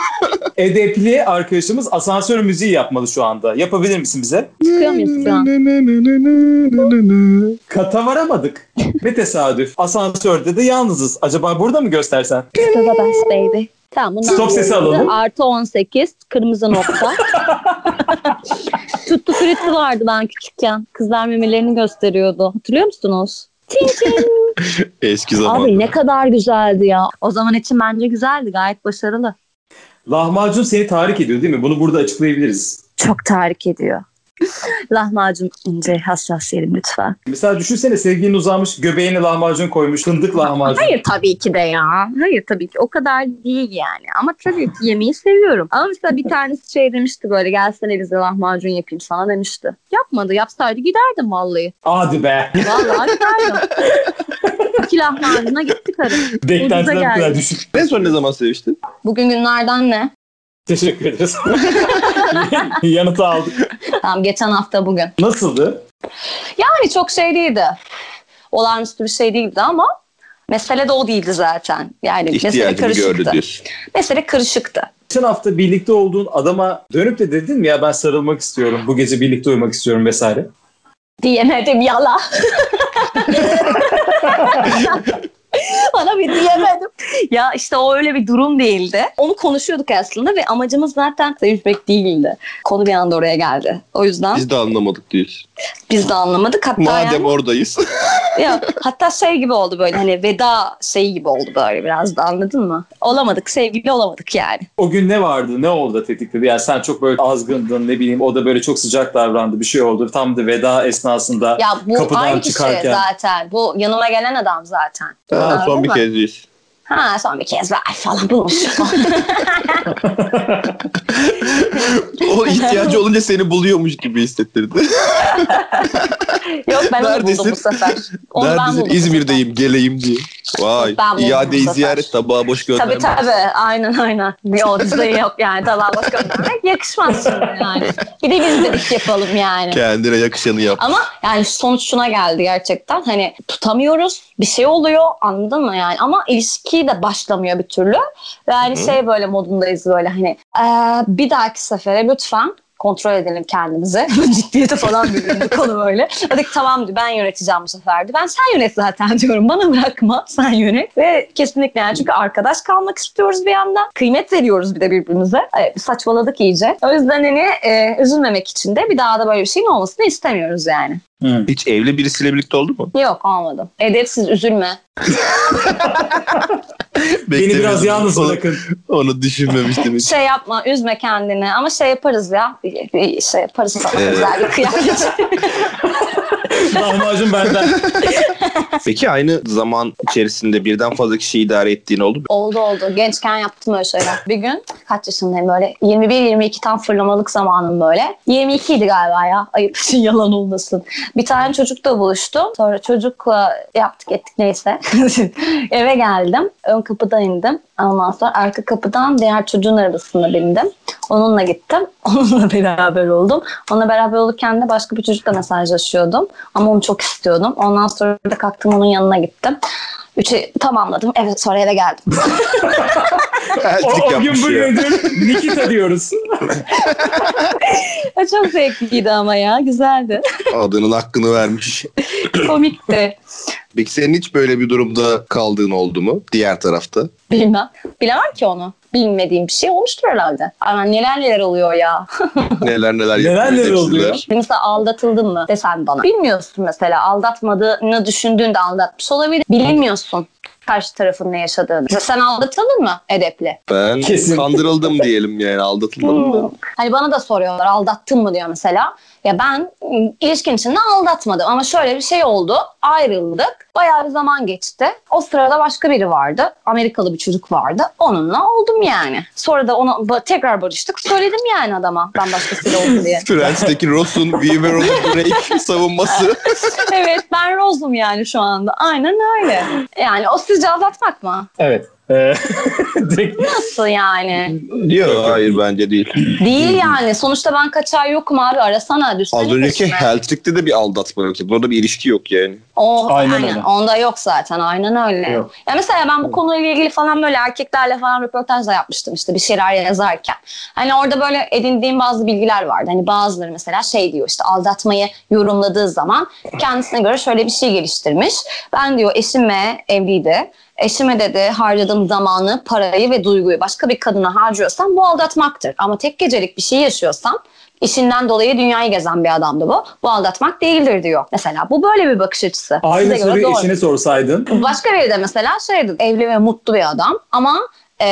[SPEAKER 1] Edepli arkadaşımız asansör müziği yapmalı şu anda. Yapabilir misin bize?
[SPEAKER 3] Çıkıyor muyuz şu an?
[SPEAKER 1] Kata varamadık. Ne tesadüf. Asansörde de yalnızız. Acaba burada mı göstersen?
[SPEAKER 3] Gaza bas baby. Tamam bundan
[SPEAKER 1] Stop sesi
[SPEAKER 3] sonra
[SPEAKER 1] alalım.
[SPEAKER 3] Artı 18 kırmızı nokta. Tuttu fritti vardı ben küçükken. Kızlar memelerini gösteriyordu. Hatırlıyor musunuz? Çin çin.
[SPEAKER 2] Eski
[SPEAKER 3] Abi ne kadar güzeldi ya. O zaman için bence güzeldi. Gayet başarılı.
[SPEAKER 1] Lahmacun seni tahrik ediyor değil mi? Bunu burada açıklayabiliriz.
[SPEAKER 3] Çok tahrik ediyor. Lahmacun ince hassas yerim lütfen.
[SPEAKER 1] Mesela düşünsene sevgilin uzanmış, göbeğine lahmacun koymuş, fındık lahmacun.
[SPEAKER 3] Hayır tabii ki de ya. Hayır tabii ki. O kadar değil yani. Ama tabii ki yemeği seviyorum. Ama mesela bir tanesi şey demişti böyle gelsene bize lahmacun yapayım sana demişti. Yapmadı. Yapsaydı giderdim vallahi.
[SPEAKER 1] Hadi be.
[SPEAKER 3] Vallahi giderdim. İki lahmacuna gittik arası. Ucuza
[SPEAKER 1] Beklentiler bu kadar
[SPEAKER 3] geldi.
[SPEAKER 1] düşük.
[SPEAKER 2] En son ne zaman seviştin?
[SPEAKER 3] Bugün günlerden ne?
[SPEAKER 1] Teşekkür ederiz. Yanıtı aldık.
[SPEAKER 3] Tamam geçen hafta bugün.
[SPEAKER 1] Nasıldı?
[SPEAKER 3] Yani çok şey değildi. Olağanüstü bir şey değildi ama mesele de o değildi zaten. Yani mesele
[SPEAKER 2] İhtiyacını gördü
[SPEAKER 3] karışıktı.
[SPEAKER 2] diyorsun.
[SPEAKER 3] Mesele karışıktı.
[SPEAKER 1] Geçen hafta birlikte olduğun adama dönüp de dedin mi ya ben sarılmak istiyorum, bu gece birlikte uyumak istiyorum vesaire.
[SPEAKER 3] Diyemedim yala. Bana bir diyemedim. Ya işte o öyle bir durum değildi. Onu konuşuyorduk aslında ve amacımız zaten sevişmek değildi. Konu bir anda oraya geldi. O yüzden
[SPEAKER 2] Biz de anlamadık diyorsun.
[SPEAKER 3] biz de anlamadık. Hatta
[SPEAKER 2] Madem
[SPEAKER 3] yani,
[SPEAKER 2] oradayız.
[SPEAKER 3] ya, hatta şey gibi oldu böyle hani veda şeyi gibi oldu böyle biraz da anladın mı? Olamadık sevgili olamadık yani.
[SPEAKER 1] O gün ne vardı, ne oldu da tetikledi? Yani sen çok böyle azgındın ne bileyim o da böyle çok sıcak davrandı bir şey oldu. Tam da veda esnasında
[SPEAKER 3] Ya bu
[SPEAKER 1] Kapıdan
[SPEAKER 3] aynı kişi
[SPEAKER 1] çıkarken.
[SPEAKER 3] zaten. Bu yanıma gelen adam zaten.
[SPEAKER 2] Ha, son
[SPEAKER 3] Anladın
[SPEAKER 2] bir
[SPEAKER 3] mı?
[SPEAKER 2] kez diyorsun.
[SPEAKER 3] Ha son bir kez var falan bulmuş.
[SPEAKER 2] O ihtiyacı olunca seni buluyormuş gibi hissettirdi.
[SPEAKER 3] Yok ben onu
[SPEAKER 2] Neredesin?
[SPEAKER 3] buldum bu sefer. Onu ben
[SPEAKER 2] Neredesin?
[SPEAKER 3] buldum bu sefer.
[SPEAKER 2] İzmir'deyim geleyim diye. Vay.
[SPEAKER 3] Ben buldum
[SPEAKER 2] İade-i
[SPEAKER 3] bu sefer.
[SPEAKER 2] ziyaret tabağa boş gönderme.
[SPEAKER 3] Tabii tabii. Aynen aynen. Yok bizde yok yani. Tabağa bak göndermek yakışmaz şimdi yani. Bir de biz dedik yapalım yani.
[SPEAKER 2] Kendine yakışanı yap.
[SPEAKER 3] Ama yani sonuç şuna geldi gerçekten. Hani tutamıyoruz. Bir şey oluyor anladın mı yani? Ama ilişki de başlamıyor bir türlü. Ve hani şey böyle modundayız böyle hani "Ee, bir dahaki sefere lütfen kontrol edelim kendimizi. Ciddiyete falan büründü konu böyle. Dedik tamam diyor, ben yöneteceğim bu sefer diyor. Ben sen yönet zaten diyorum. Bana bırakma sen yönet. Ve kesinlikle yani çünkü arkadaş kalmak istiyoruz bir yandan. Kıymet veriyoruz bir de birbirimize. E, saçmaladık iyice. O yüzden hani e, üzülmemek için de bir daha da böyle bir şeyin olmasını istemiyoruz yani.
[SPEAKER 2] Hiç evli birisiyle birlikte oldu mu?
[SPEAKER 3] Yok olmadım. Edepsiz üzülme.
[SPEAKER 1] Beni biraz
[SPEAKER 2] Beklemiyordum.
[SPEAKER 1] yalnız
[SPEAKER 2] Onu-
[SPEAKER 1] bırakın.
[SPEAKER 2] Onu düşünmemiştim hiç.
[SPEAKER 3] Şey yapma üzme kendini ama şey yaparız ya. Bir- bir Şey yaparız sana
[SPEAKER 2] Evet.
[SPEAKER 3] güzel bir kıyafet.
[SPEAKER 1] Lahmacun benden.
[SPEAKER 2] Peki aynı zaman içerisinde birden fazla kişiyi idare ettiğin oldu mu?
[SPEAKER 3] Oldu oldu. Gençken yaptım öyle şeyler. Bir gün kaç yaşındayım böyle 21-22 tam fırlamalık zamanım böyle. 22 idi galiba ya. Ayıp için yalan olmasın. Bir tane çocukla buluştum. Sonra çocukla yaptık ettik neyse. Eve geldim. Ön kapıdan indim. Ondan sonra arka kapıdan diğer çocuğun arabasına bindim. Onunla gittim. Onunla beraber oldum. Onunla beraber olurken de başka bir çocukla mesajlaşıyordum. Ama onu çok istiyordum. Ondan sonra da kalktım onun yanına gittim. Üçü tamamladım. Evet sonra eve geldim.
[SPEAKER 1] O,
[SPEAKER 2] Elçilik
[SPEAKER 1] o gün
[SPEAKER 2] yapmış ya.
[SPEAKER 1] bugündür Nikita diyoruz.
[SPEAKER 3] Ya Çok zevkliydi ama ya. Güzeldi.
[SPEAKER 2] Adının hakkını vermiş.
[SPEAKER 3] Komikti.
[SPEAKER 2] Peki senin hiç böyle bir durumda kaldığın oldu mu? Diğer tarafta.
[SPEAKER 3] Bilmem. Bilemem ki onu. Bilmediğim bir şey olmuştur herhalde. Ama neler neler oluyor ya.
[SPEAKER 2] Neler neler yapıyor.
[SPEAKER 1] Neler neler oluyor?
[SPEAKER 2] hepsiler.
[SPEAKER 3] Mesela aldatıldın mı desen bana. Bilmiyorsun mesela aldatmadığını düşündüğünde aldatmış olabilir. Bilmiyorsun karşı tarafın ne yaşadığını. Mesela sen aldatıldın mı Edep'le?
[SPEAKER 2] Ben
[SPEAKER 1] Kesin.
[SPEAKER 2] kandırıldım diyelim yani aldatılmadım da.
[SPEAKER 3] Hani bana da soruyorlar aldattın mı diyor mesela. Ya ben ım, ilişkin içinde aldatmadım ama şöyle bir şey oldu. Ayrıldık. Bayağı bir zaman geçti. O sırada başka biri vardı. Amerikalı bir çocuk vardı. Onunla oldum yani. Sonra da ona ba- tekrar barıştık. Söyledim yani adama ben başkasıyla oldum diye.
[SPEAKER 2] Prens'teki Ross'un We Were on a Break savunması.
[SPEAKER 3] evet ben Rose'um yani şu anda. Aynen öyle. Yani o sizce aldatmak mı?
[SPEAKER 4] Evet. Ee, direkt
[SPEAKER 3] Nasıl yani?
[SPEAKER 2] Diyor. Hayır bence değil.
[SPEAKER 3] Değil yani. Sonuçta ben kaç ay yokum abi. Arasana düşsene.
[SPEAKER 2] Az önceki
[SPEAKER 3] peşime.
[SPEAKER 2] Heltik'te de bir aldatma yok. Burada bir ilişki yok yani.
[SPEAKER 3] O,
[SPEAKER 4] Aynen
[SPEAKER 3] aynen,
[SPEAKER 4] öyle.
[SPEAKER 3] Onda yok zaten. Aynen öyle.
[SPEAKER 4] Yok.
[SPEAKER 3] Ya mesela ben bu konuyla ilgili falan böyle erkeklerle falan röportaj da yapmıştım işte bir şeyler yazarken. Hani orada böyle edindiğim bazı bilgiler vardı. Hani bazıları mesela şey diyor işte aldatmayı yorumladığı zaman kendisine göre şöyle bir şey geliştirmiş. Ben diyor eşime evliydi. Eşime dedi harcadığım zamanı, parayı ve duyguyu başka bir kadına harcıyorsam bu aldatmaktır. Ama tek gecelik bir şey yaşıyorsam işinden dolayı dünyayı gezen bir adamdı bu. Bu aldatmak değildir diyor. Mesela bu böyle bir bakış açısı.
[SPEAKER 1] Aynı
[SPEAKER 3] Size göre
[SPEAKER 1] soruyu
[SPEAKER 3] doğru.
[SPEAKER 1] eşine sorsaydın.
[SPEAKER 3] Başka biri de mesela şeydi evli ve mutlu bir adam ama e,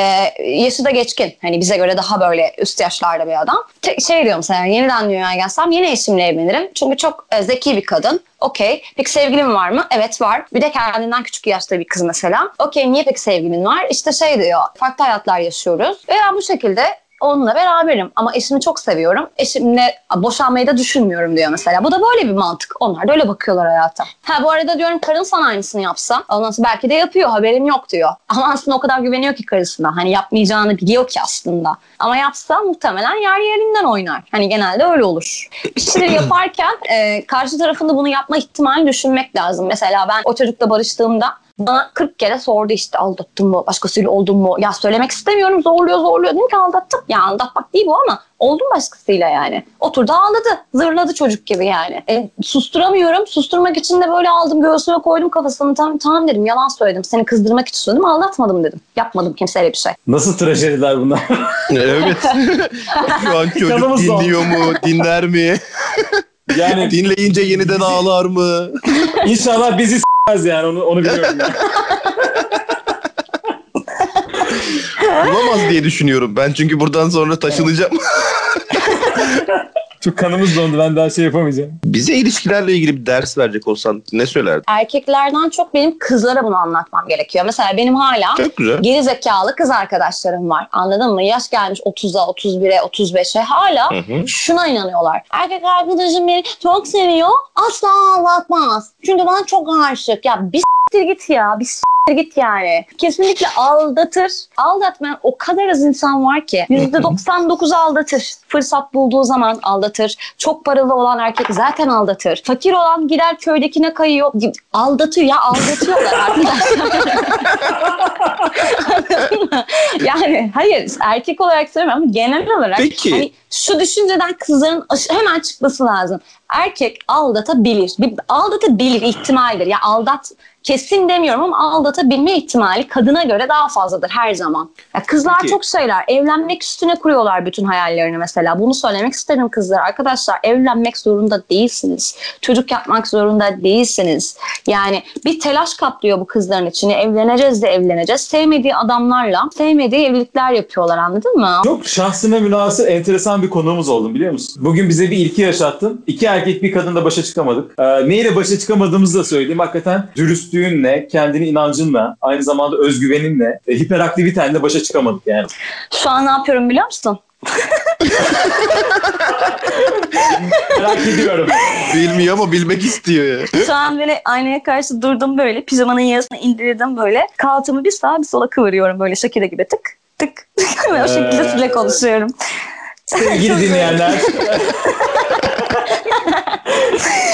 [SPEAKER 3] yaşı da geçkin. Hani bize göre daha böyle üst yaşlarda bir adam. Te- şey diyor mesela yeniden dünyaya gelsem yine eşimle evlenirim. Çünkü çok e, zeki bir kadın. Okey. Peki sevgilim var mı? Evet var. Bir de kendinden küçük yaşta bir kız mesela. Okey niye peki sevgilin var? İşte şey diyor farklı hayatlar yaşıyoruz. Ve ben bu şekilde onunla beraberim ama eşimi çok seviyorum. Eşimle boşanmayı da düşünmüyorum diyor mesela. Bu da böyle bir mantık. Onlar da öyle bakıyorlar hayata. Ha bu arada diyorum karın sana aynısını yapsa. Ondan sonra belki de yapıyor haberim yok diyor. Ama aslında o kadar güveniyor ki karısına. Hani yapmayacağını biliyor ki aslında. Ama yapsa muhtemelen yer yerinden oynar. Hani genelde öyle olur. Bir şeyleri yaparken e, karşı tarafında bunu yapma ihtimalini düşünmek lazım. Mesela ben o çocukla barıştığımda bana 40 kere sordu işte aldattın mı, başkasıyla oldun mu? Ya söylemek istemiyorum zorluyor zorluyor. Dedim ki aldattım. Ya aldatmak değil bu ama oldum başkasıyla yani. Oturdu ağladı. Zırladı çocuk gibi yani. E, susturamıyorum. Susturmak için de böyle aldım göğsüme koydum kafasını. Tamam, tamam dedim yalan söyledim. Seni kızdırmak için söyledim aldatmadım dedim. Yapmadım kimseyle bir şey.
[SPEAKER 1] Nasıl trajediler bunlar?
[SPEAKER 2] Evet. Şu an çocuk
[SPEAKER 1] Canımız sağ
[SPEAKER 2] dinliyor mu? Dinler mi?
[SPEAKER 1] Yani
[SPEAKER 2] Dinleyince yeniden ağlar mı?
[SPEAKER 1] inşallah bizi s**mez yani onu, onu biliyorum. Yani.
[SPEAKER 2] Bulamaz diye düşünüyorum ben. Çünkü buradan sonra taşınacağım.
[SPEAKER 4] Çok kanımız dondu ben daha şey yapamayacağım.
[SPEAKER 2] Bize ilişkilerle ilgili bir ders verecek olsan ne söylerdin?
[SPEAKER 3] Erkeklerden çok benim kızlara bunu anlatmam gerekiyor. Mesela benim hala
[SPEAKER 2] Çok güzel.
[SPEAKER 3] geri zekalı kız arkadaşlarım var. Anladın mı? Yaş gelmiş 30'a, 31'e, 35'e hala
[SPEAKER 2] Hı hı.
[SPEAKER 3] şuna inanıyorlar. Erkek arkadaşım beni çok seviyor. Asla aldatmaz. Çünkü bana çok aşık. Ya bir s**tir git ya. Bir s**tir git yani. Kesinlikle aldatır. Aldatmayan o kadar az insan var ki. %99 aldatır. Fırsat bulduğu zaman aldatır. Çok paralı olan erkek zaten aldatır. Fakir olan gider köydekine kayıyor. Aldatıyor ya aldatıyorlar arkadaşlar. Anladın mı? yani hayır erkek olarak söylemiyorum ama genel olarak
[SPEAKER 2] Peki.
[SPEAKER 3] hani şu düşünceden kızların aş- hemen çıkması lazım. Erkek aldatabilir. Bir- Aldatabilir ihtimaldir. Ya aldat kesin demiyorum ama aldatabilme ihtimali kadına göre daha fazladır her zaman. Ya kızlar
[SPEAKER 2] Peki.
[SPEAKER 3] çok şeyler. Evlenmek üstüne kuruyorlar bütün hayallerini mesela. Bunu söylemek isterim kızlar. Arkadaşlar evlenmek zorunda değilsiniz. Çocuk yapmak zorunda değilsiniz. Yani bir telaş kaplıyor bu kızların içini. Evleneceğiz de evleneceğiz. Sevmediği adamlarla sevmediği evlilikler yapıyorlar anladın mı?
[SPEAKER 1] Çok şahsına münasır enteresan bir konuğumuz oldun biliyor musun? Bugün bize bir ilki yaşattın. İki erkek bir kadınla başa çıkamadık. Ee, neyle başa çıkamadığımızı da söyleyeyim. Hakikaten dürüstlüğünle, kendini inancınla, aynı zamanda özgüveninle, e, hiperaktivitenle başa çıkamadık yani.
[SPEAKER 3] Şu an ne yapıyorum biliyor musun?
[SPEAKER 1] Merak ediyorum.
[SPEAKER 2] Bilmiyor ama bilmek istiyor ya.
[SPEAKER 3] Şu an böyle aynaya karşı durdum böyle. Pijamanın yarısını indirdim böyle. Kalçamı bir sağa bir sola kıvırıyorum böyle Shakira gibi tık tık. Ve o şekilde
[SPEAKER 1] Ee,
[SPEAKER 3] sizinle konuşuyorum.
[SPEAKER 1] Sevgili dinleyenler.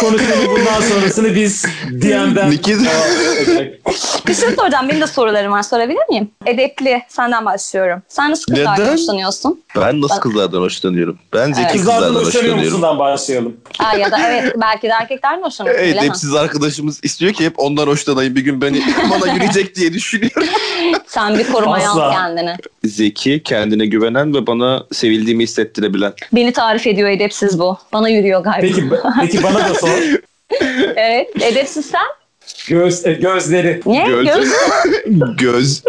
[SPEAKER 1] Konuşmanın bundan sonrasını biz e, DM'den
[SPEAKER 2] Nikiz-
[SPEAKER 1] devam edecek.
[SPEAKER 3] Bir şey soracağım. Benim de sorularım var. Sorabilir miyim? Edepli. Senden başlıyorum. Sen nasıl kızlardan
[SPEAKER 2] Neden?
[SPEAKER 3] hoşlanıyorsun?
[SPEAKER 2] Ben nasıl kızlardan hoşlanıyorum? Ben zeki
[SPEAKER 3] Evet.
[SPEAKER 2] kızlardan
[SPEAKER 1] Kızlardan hoşlanıyor
[SPEAKER 2] hoşlanıyorum.
[SPEAKER 1] musundan başlayalım.
[SPEAKER 3] Aa, ya da evet belki de erkeklerden hoşlanıyorsun.
[SPEAKER 2] Evet,
[SPEAKER 3] bilemem.
[SPEAKER 2] hepsiz arkadaşımız istiyor ki hep ondan hoşlanayım bir gün beni bana yürüyecek diye düşünüyorum.
[SPEAKER 3] Sen bir korumaya al
[SPEAKER 1] Asla.
[SPEAKER 3] kendini.
[SPEAKER 2] Zeki, kendine güvenen ve bana sevildiğimi hissettirebilen.
[SPEAKER 3] Beni tarif ediyor edepsiz bu. Bana yürüyor galiba.
[SPEAKER 1] Peki, peki bana da sor.
[SPEAKER 3] Evet. Edepsiz sen?
[SPEAKER 1] Göz, e, gözleri.
[SPEAKER 3] Niye?
[SPEAKER 2] Göz.
[SPEAKER 3] Göz-
[SPEAKER 2] Göz.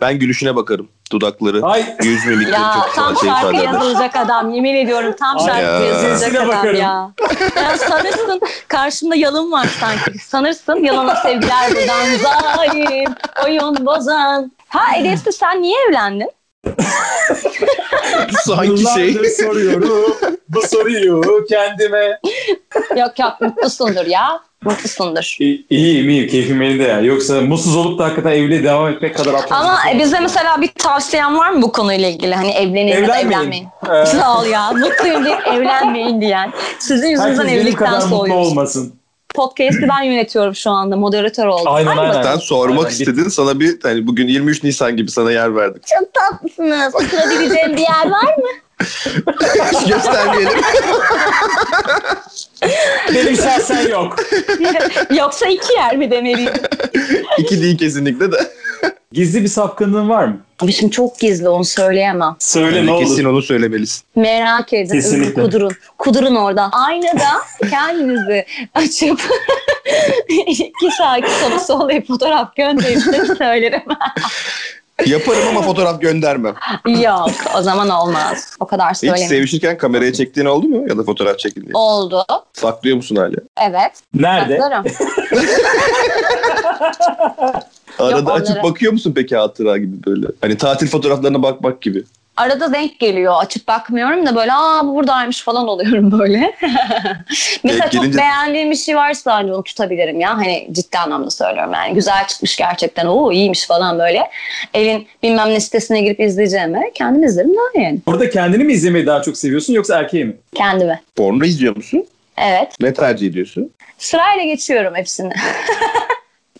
[SPEAKER 2] Ben gülüşüne bakarım. Dudakları,
[SPEAKER 1] Ay
[SPEAKER 2] yüz mimikleri
[SPEAKER 3] Ya
[SPEAKER 2] çok
[SPEAKER 3] tam
[SPEAKER 2] şey
[SPEAKER 3] şarkı
[SPEAKER 2] ifade eder.
[SPEAKER 3] yazılacak adam yemin ediyorum tam
[SPEAKER 1] Ay
[SPEAKER 3] şarkı
[SPEAKER 2] ya.
[SPEAKER 3] yazılacak
[SPEAKER 1] Sesine
[SPEAKER 3] adam
[SPEAKER 1] bakarım.
[SPEAKER 3] ya. Ya sanırsın karşımda yalın var sanki. Sanırsın yalana sevgiler buradan zalim oyun bozan. Ha Edepsiz sen niye evlendin?
[SPEAKER 2] Sanki şey.
[SPEAKER 1] Yıllardır soruyorum. Bu soruyu kendime.
[SPEAKER 3] Yok yok mutlusundur ya. Mutlusundur.
[SPEAKER 1] İyi, iyiyim iyiyim keyfim elinde ya. Yoksa mutsuz olup da hakikaten evliliğe devam etmek kadar aptal.
[SPEAKER 3] Ama e, bize mesela bir tavsiyen var mı bu konuyla ilgili? Hani evlenin ya da
[SPEAKER 1] Evlenmeyin.
[SPEAKER 3] evlenmeyin.
[SPEAKER 1] Ee,
[SPEAKER 3] Sağ ol ya. Mutluyum deyip evlenmeyin diyen. Sizin
[SPEAKER 1] herkes
[SPEAKER 3] yüzünüzden
[SPEAKER 1] benim
[SPEAKER 3] evlilikten
[SPEAKER 1] kadar mutlu
[SPEAKER 3] soğuyoruz.
[SPEAKER 1] olmasın.
[SPEAKER 3] Podcast'i ben yönetiyorum şu anda. Moderatör oldum.
[SPEAKER 1] Aynen
[SPEAKER 3] Hadi
[SPEAKER 1] aynen.
[SPEAKER 2] Sen sormak
[SPEAKER 1] Aynen, git.
[SPEAKER 2] istedin sana bir hani bugün 23 Nisan gibi sana yer verdik.
[SPEAKER 3] Çok tatlısınız. Oturabileceğim bir yer var mı?
[SPEAKER 2] Göstermeyelim.
[SPEAKER 1] Benim şahsen yok.
[SPEAKER 3] Yoksa iki yer mi demeliyim?
[SPEAKER 2] İki değil kesinlikle de.
[SPEAKER 1] Gizli bir sapkınlığın var mı?
[SPEAKER 3] Abi şimdi çok gizli onu söyleyemem.
[SPEAKER 1] Söyle
[SPEAKER 2] Yani
[SPEAKER 1] ne
[SPEAKER 2] kesin
[SPEAKER 1] olur.
[SPEAKER 2] onu söylemelisin.
[SPEAKER 3] Merak edin.
[SPEAKER 1] Kesinlikle.
[SPEAKER 3] Öyle Kudurun. Kudurun orada. Aynada kendinizi açıp iki sağ iki sola sol diye fotoğraf gönderin size söylerim.
[SPEAKER 2] Yaparım ama fotoğraf göndermem.
[SPEAKER 3] Yok o zaman olmaz. O kadar
[SPEAKER 2] Hiç
[SPEAKER 3] söylemeyeyim.
[SPEAKER 2] sevişirken kameraya çektiğin oldu mu? Ya da fotoğraf çekildi.
[SPEAKER 3] Oldu.
[SPEAKER 2] Saklıyor musun hala?
[SPEAKER 3] Evet.
[SPEAKER 1] Nerede?
[SPEAKER 3] Saklarım.
[SPEAKER 2] Arada
[SPEAKER 3] Yok,
[SPEAKER 2] açıp
[SPEAKER 3] onları-
[SPEAKER 2] bakıyor musun peki hatıra gibi böyle? Hani tatil fotoğraflarına bakmak gibi.
[SPEAKER 3] Arada denk geliyor. Açıp bakmıyorum da böyle aa bu buradaymış falan oluyorum böyle. Mesela
[SPEAKER 2] Denk gelince-
[SPEAKER 3] çok beğendiğim bir şey varsa hani onu tutabilirim ya. Hani ciddi anlamda söylüyorum yani. Güzel çıkmış gerçekten. Oo iyiymiş falan böyle. Elin bilmem ne sitesine girip izleyeceğime kendim izlerim daha yani.
[SPEAKER 1] Burada kendini mi izlemeyi daha çok seviyorsun yoksa erkeği mi?
[SPEAKER 3] Kendime.
[SPEAKER 2] Porno izliyor musun?
[SPEAKER 3] Evet.
[SPEAKER 2] Ne tercih ediyorsun?
[SPEAKER 3] Sırayla geçiyorum hepsini.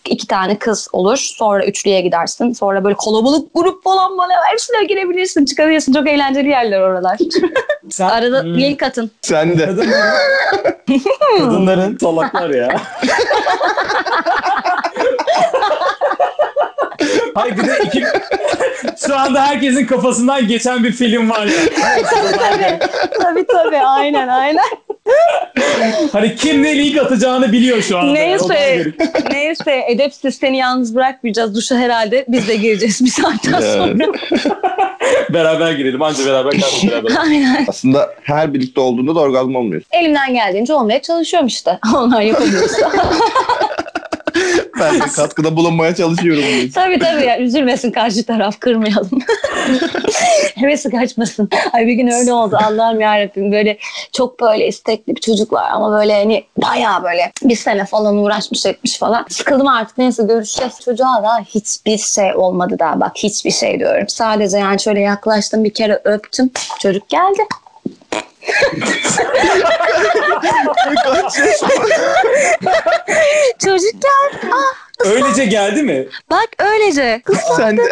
[SPEAKER 3] iki tane kız olur. Sonra üçlüye gidersin. Sonra böyle kalabalık grup falan bana hepsine girebilirsin. Çıkabilirsin. Çok eğlenceli yerler oralar.
[SPEAKER 1] Sen,
[SPEAKER 3] Arada
[SPEAKER 1] Hmm.
[SPEAKER 3] link atın.
[SPEAKER 2] Sen de.
[SPEAKER 1] Kadın- kadınların salaklar ya. Hayır bir de iki... Şu anda herkesin kafasından geçen bir film var ya.
[SPEAKER 3] tabii tabii aynen aynen.
[SPEAKER 1] Hani kim ne link atacağını biliyor şu anda. O da
[SPEAKER 3] Neyse,
[SPEAKER 1] garip.
[SPEAKER 3] neyse edepsiz seni yalnız bırakmayacağız. Duşa herhalde biz de gireceğiz bir saatten
[SPEAKER 2] Evet.
[SPEAKER 3] sonra.
[SPEAKER 1] Beraber girelim anca beraber kalkıp beraber.
[SPEAKER 3] Aynen.
[SPEAKER 2] Aslında her birlikte olduğunda da orgazm olmuyor.
[SPEAKER 3] Elimden geldiğince olmaya çalışıyorum işte. Onlar yapabiliyorsa.
[SPEAKER 2] Ben de katkıda bulunmaya çalışıyorum.
[SPEAKER 3] tabii tabii ya üzülmesin karşı taraf kırmayalım. Hevesi kaçmasın. Ay bir gün öyle oldu Allah'ım yarabbim böyle çok böyle istekli bir çocuk var ama böyle hani bayağı böyle bir sene falan uğraşmış etmiş falan. Sıkıldım artık neyse görüşeceğiz çocuğa da hiçbir şey olmadı daha bak hiçbir şey diyorum. Sadece yani şöyle yaklaştım bir kere öptüm çocuk geldi. Çocuk geldi. Ah,
[SPEAKER 1] Öylece geldi mi?
[SPEAKER 3] bak öylece.
[SPEAKER 2] sen de,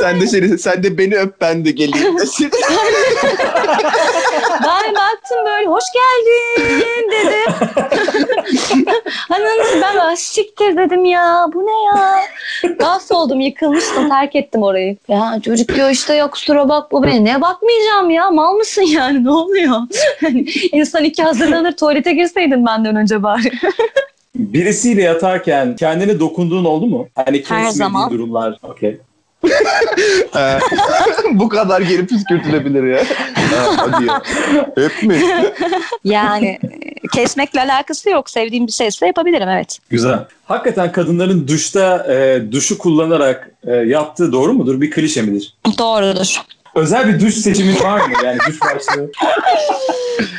[SPEAKER 2] sen de, şey, sen de beni öp ben de geleyim. desin.
[SPEAKER 3] Ben baktım böyle hoş geldin dedim. Hanım ben "Ah, siktir dedim ya bu ne ya. Mahvoldum yıkılmıştım terk ettim orayı. Ya çocuk diyor işte ya kusura bakma beni ne bakmayacağım ya mal mısın yani ne oluyor. Hani İnsan iki hazırlanır tuvalete girseydin benden önce bari.
[SPEAKER 1] Birisiyle yatarken kendine dokunduğun oldu mu? Hani
[SPEAKER 3] Her
[SPEAKER 1] kesmediği
[SPEAKER 3] zaman.
[SPEAKER 1] durumlar. Okey.
[SPEAKER 2] Ee, bu kadar geri püskürtülebilir ya. Ha, Hadi ya. Öp mü?
[SPEAKER 3] Yani kesmekle alakası yok sevdiğim bir şeyse yapabilirim evet.
[SPEAKER 1] Güzel. Hakikaten kadınların duşta e, duşu kullanarak e, yaptığı doğru mudur? Bir klişe midir?
[SPEAKER 3] Doğrudur.
[SPEAKER 1] Özel bir duş seçimin var mı? Yani duş başlığı.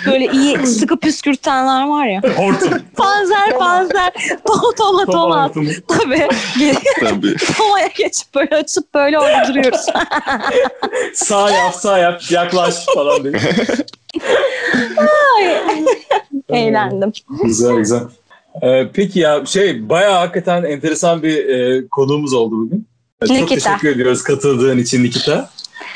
[SPEAKER 3] Böyle iyi sıkı püskürtenler var ya.
[SPEAKER 1] Hortum.
[SPEAKER 3] Panzer panzer. Toma toma toma.
[SPEAKER 1] hortumu.
[SPEAKER 3] Tabii.
[SPEAKER 2] Tabii.
[SPEAKER 3] Tomaya geçip böyle açıp böyle orada duruyoruz.
[SPEAKER 1] Sağ yap, sağ yap, yaklaş falan diye.
[SPEAKER 3] Eğlendim.
[SPEAKER 1] Güzel güzel. Ee, peki ya şey bayağı hakikaten enteresan bir e, konuğumuz oldu bugün. Ee, Çok
[SPEAKER 3] Nikita.
[SPEAKER 1] teşekkür ediyoruz katıldığın için Nikita.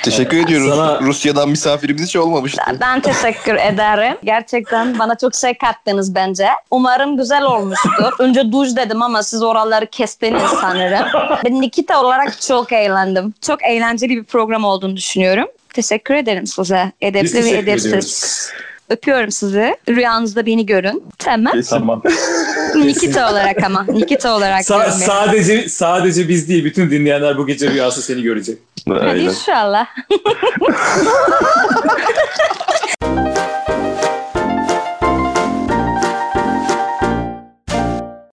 [SPEAKER 2] Teşekkür ediyoruz.
[SPEAKER 1] Sana-
[SPEAKER 2] Rusya'dan misafirimiz hiç olmamıştı.
[SPEAKER 3] Ben teşekkür ederim. Gerçekten bana çok şey kattınız bence. Umarım güzel olmuştur. Önce duş dedim ama siz oraları kestiniz sanırım. Ben Nikita olarak çok eğlendim. Çok eğlenceli bir program olduğunu düşünüyorum. Teşekkür ederim size.
[SPEAKER 1] Biz
[SPEAKER 3] Edepli ve
[SPEAKER 1] teşekkür
[SPEAKER 3] edepsiz.
[SPEAKER 1] ediyoruz.
[SPEAKER 3] Öpüyorum sizi. Rüyanızda beni görün. Tamam.
[SPEAKER 1] Tamam.
[SPEAKER 3] Nikita olarak ama. Nikita olarak.
[SPEAKER 1] Sa-
[SPEAKER 3] görün beni.
[SPEAKER 1] sadece sadece biz değil bütün dinleyenler bu gece rüyası seni görecek.
[SPEAKER 3] Hadi
[SPEAKER 2] Aynen.
[SPEAKER 3] inşallah.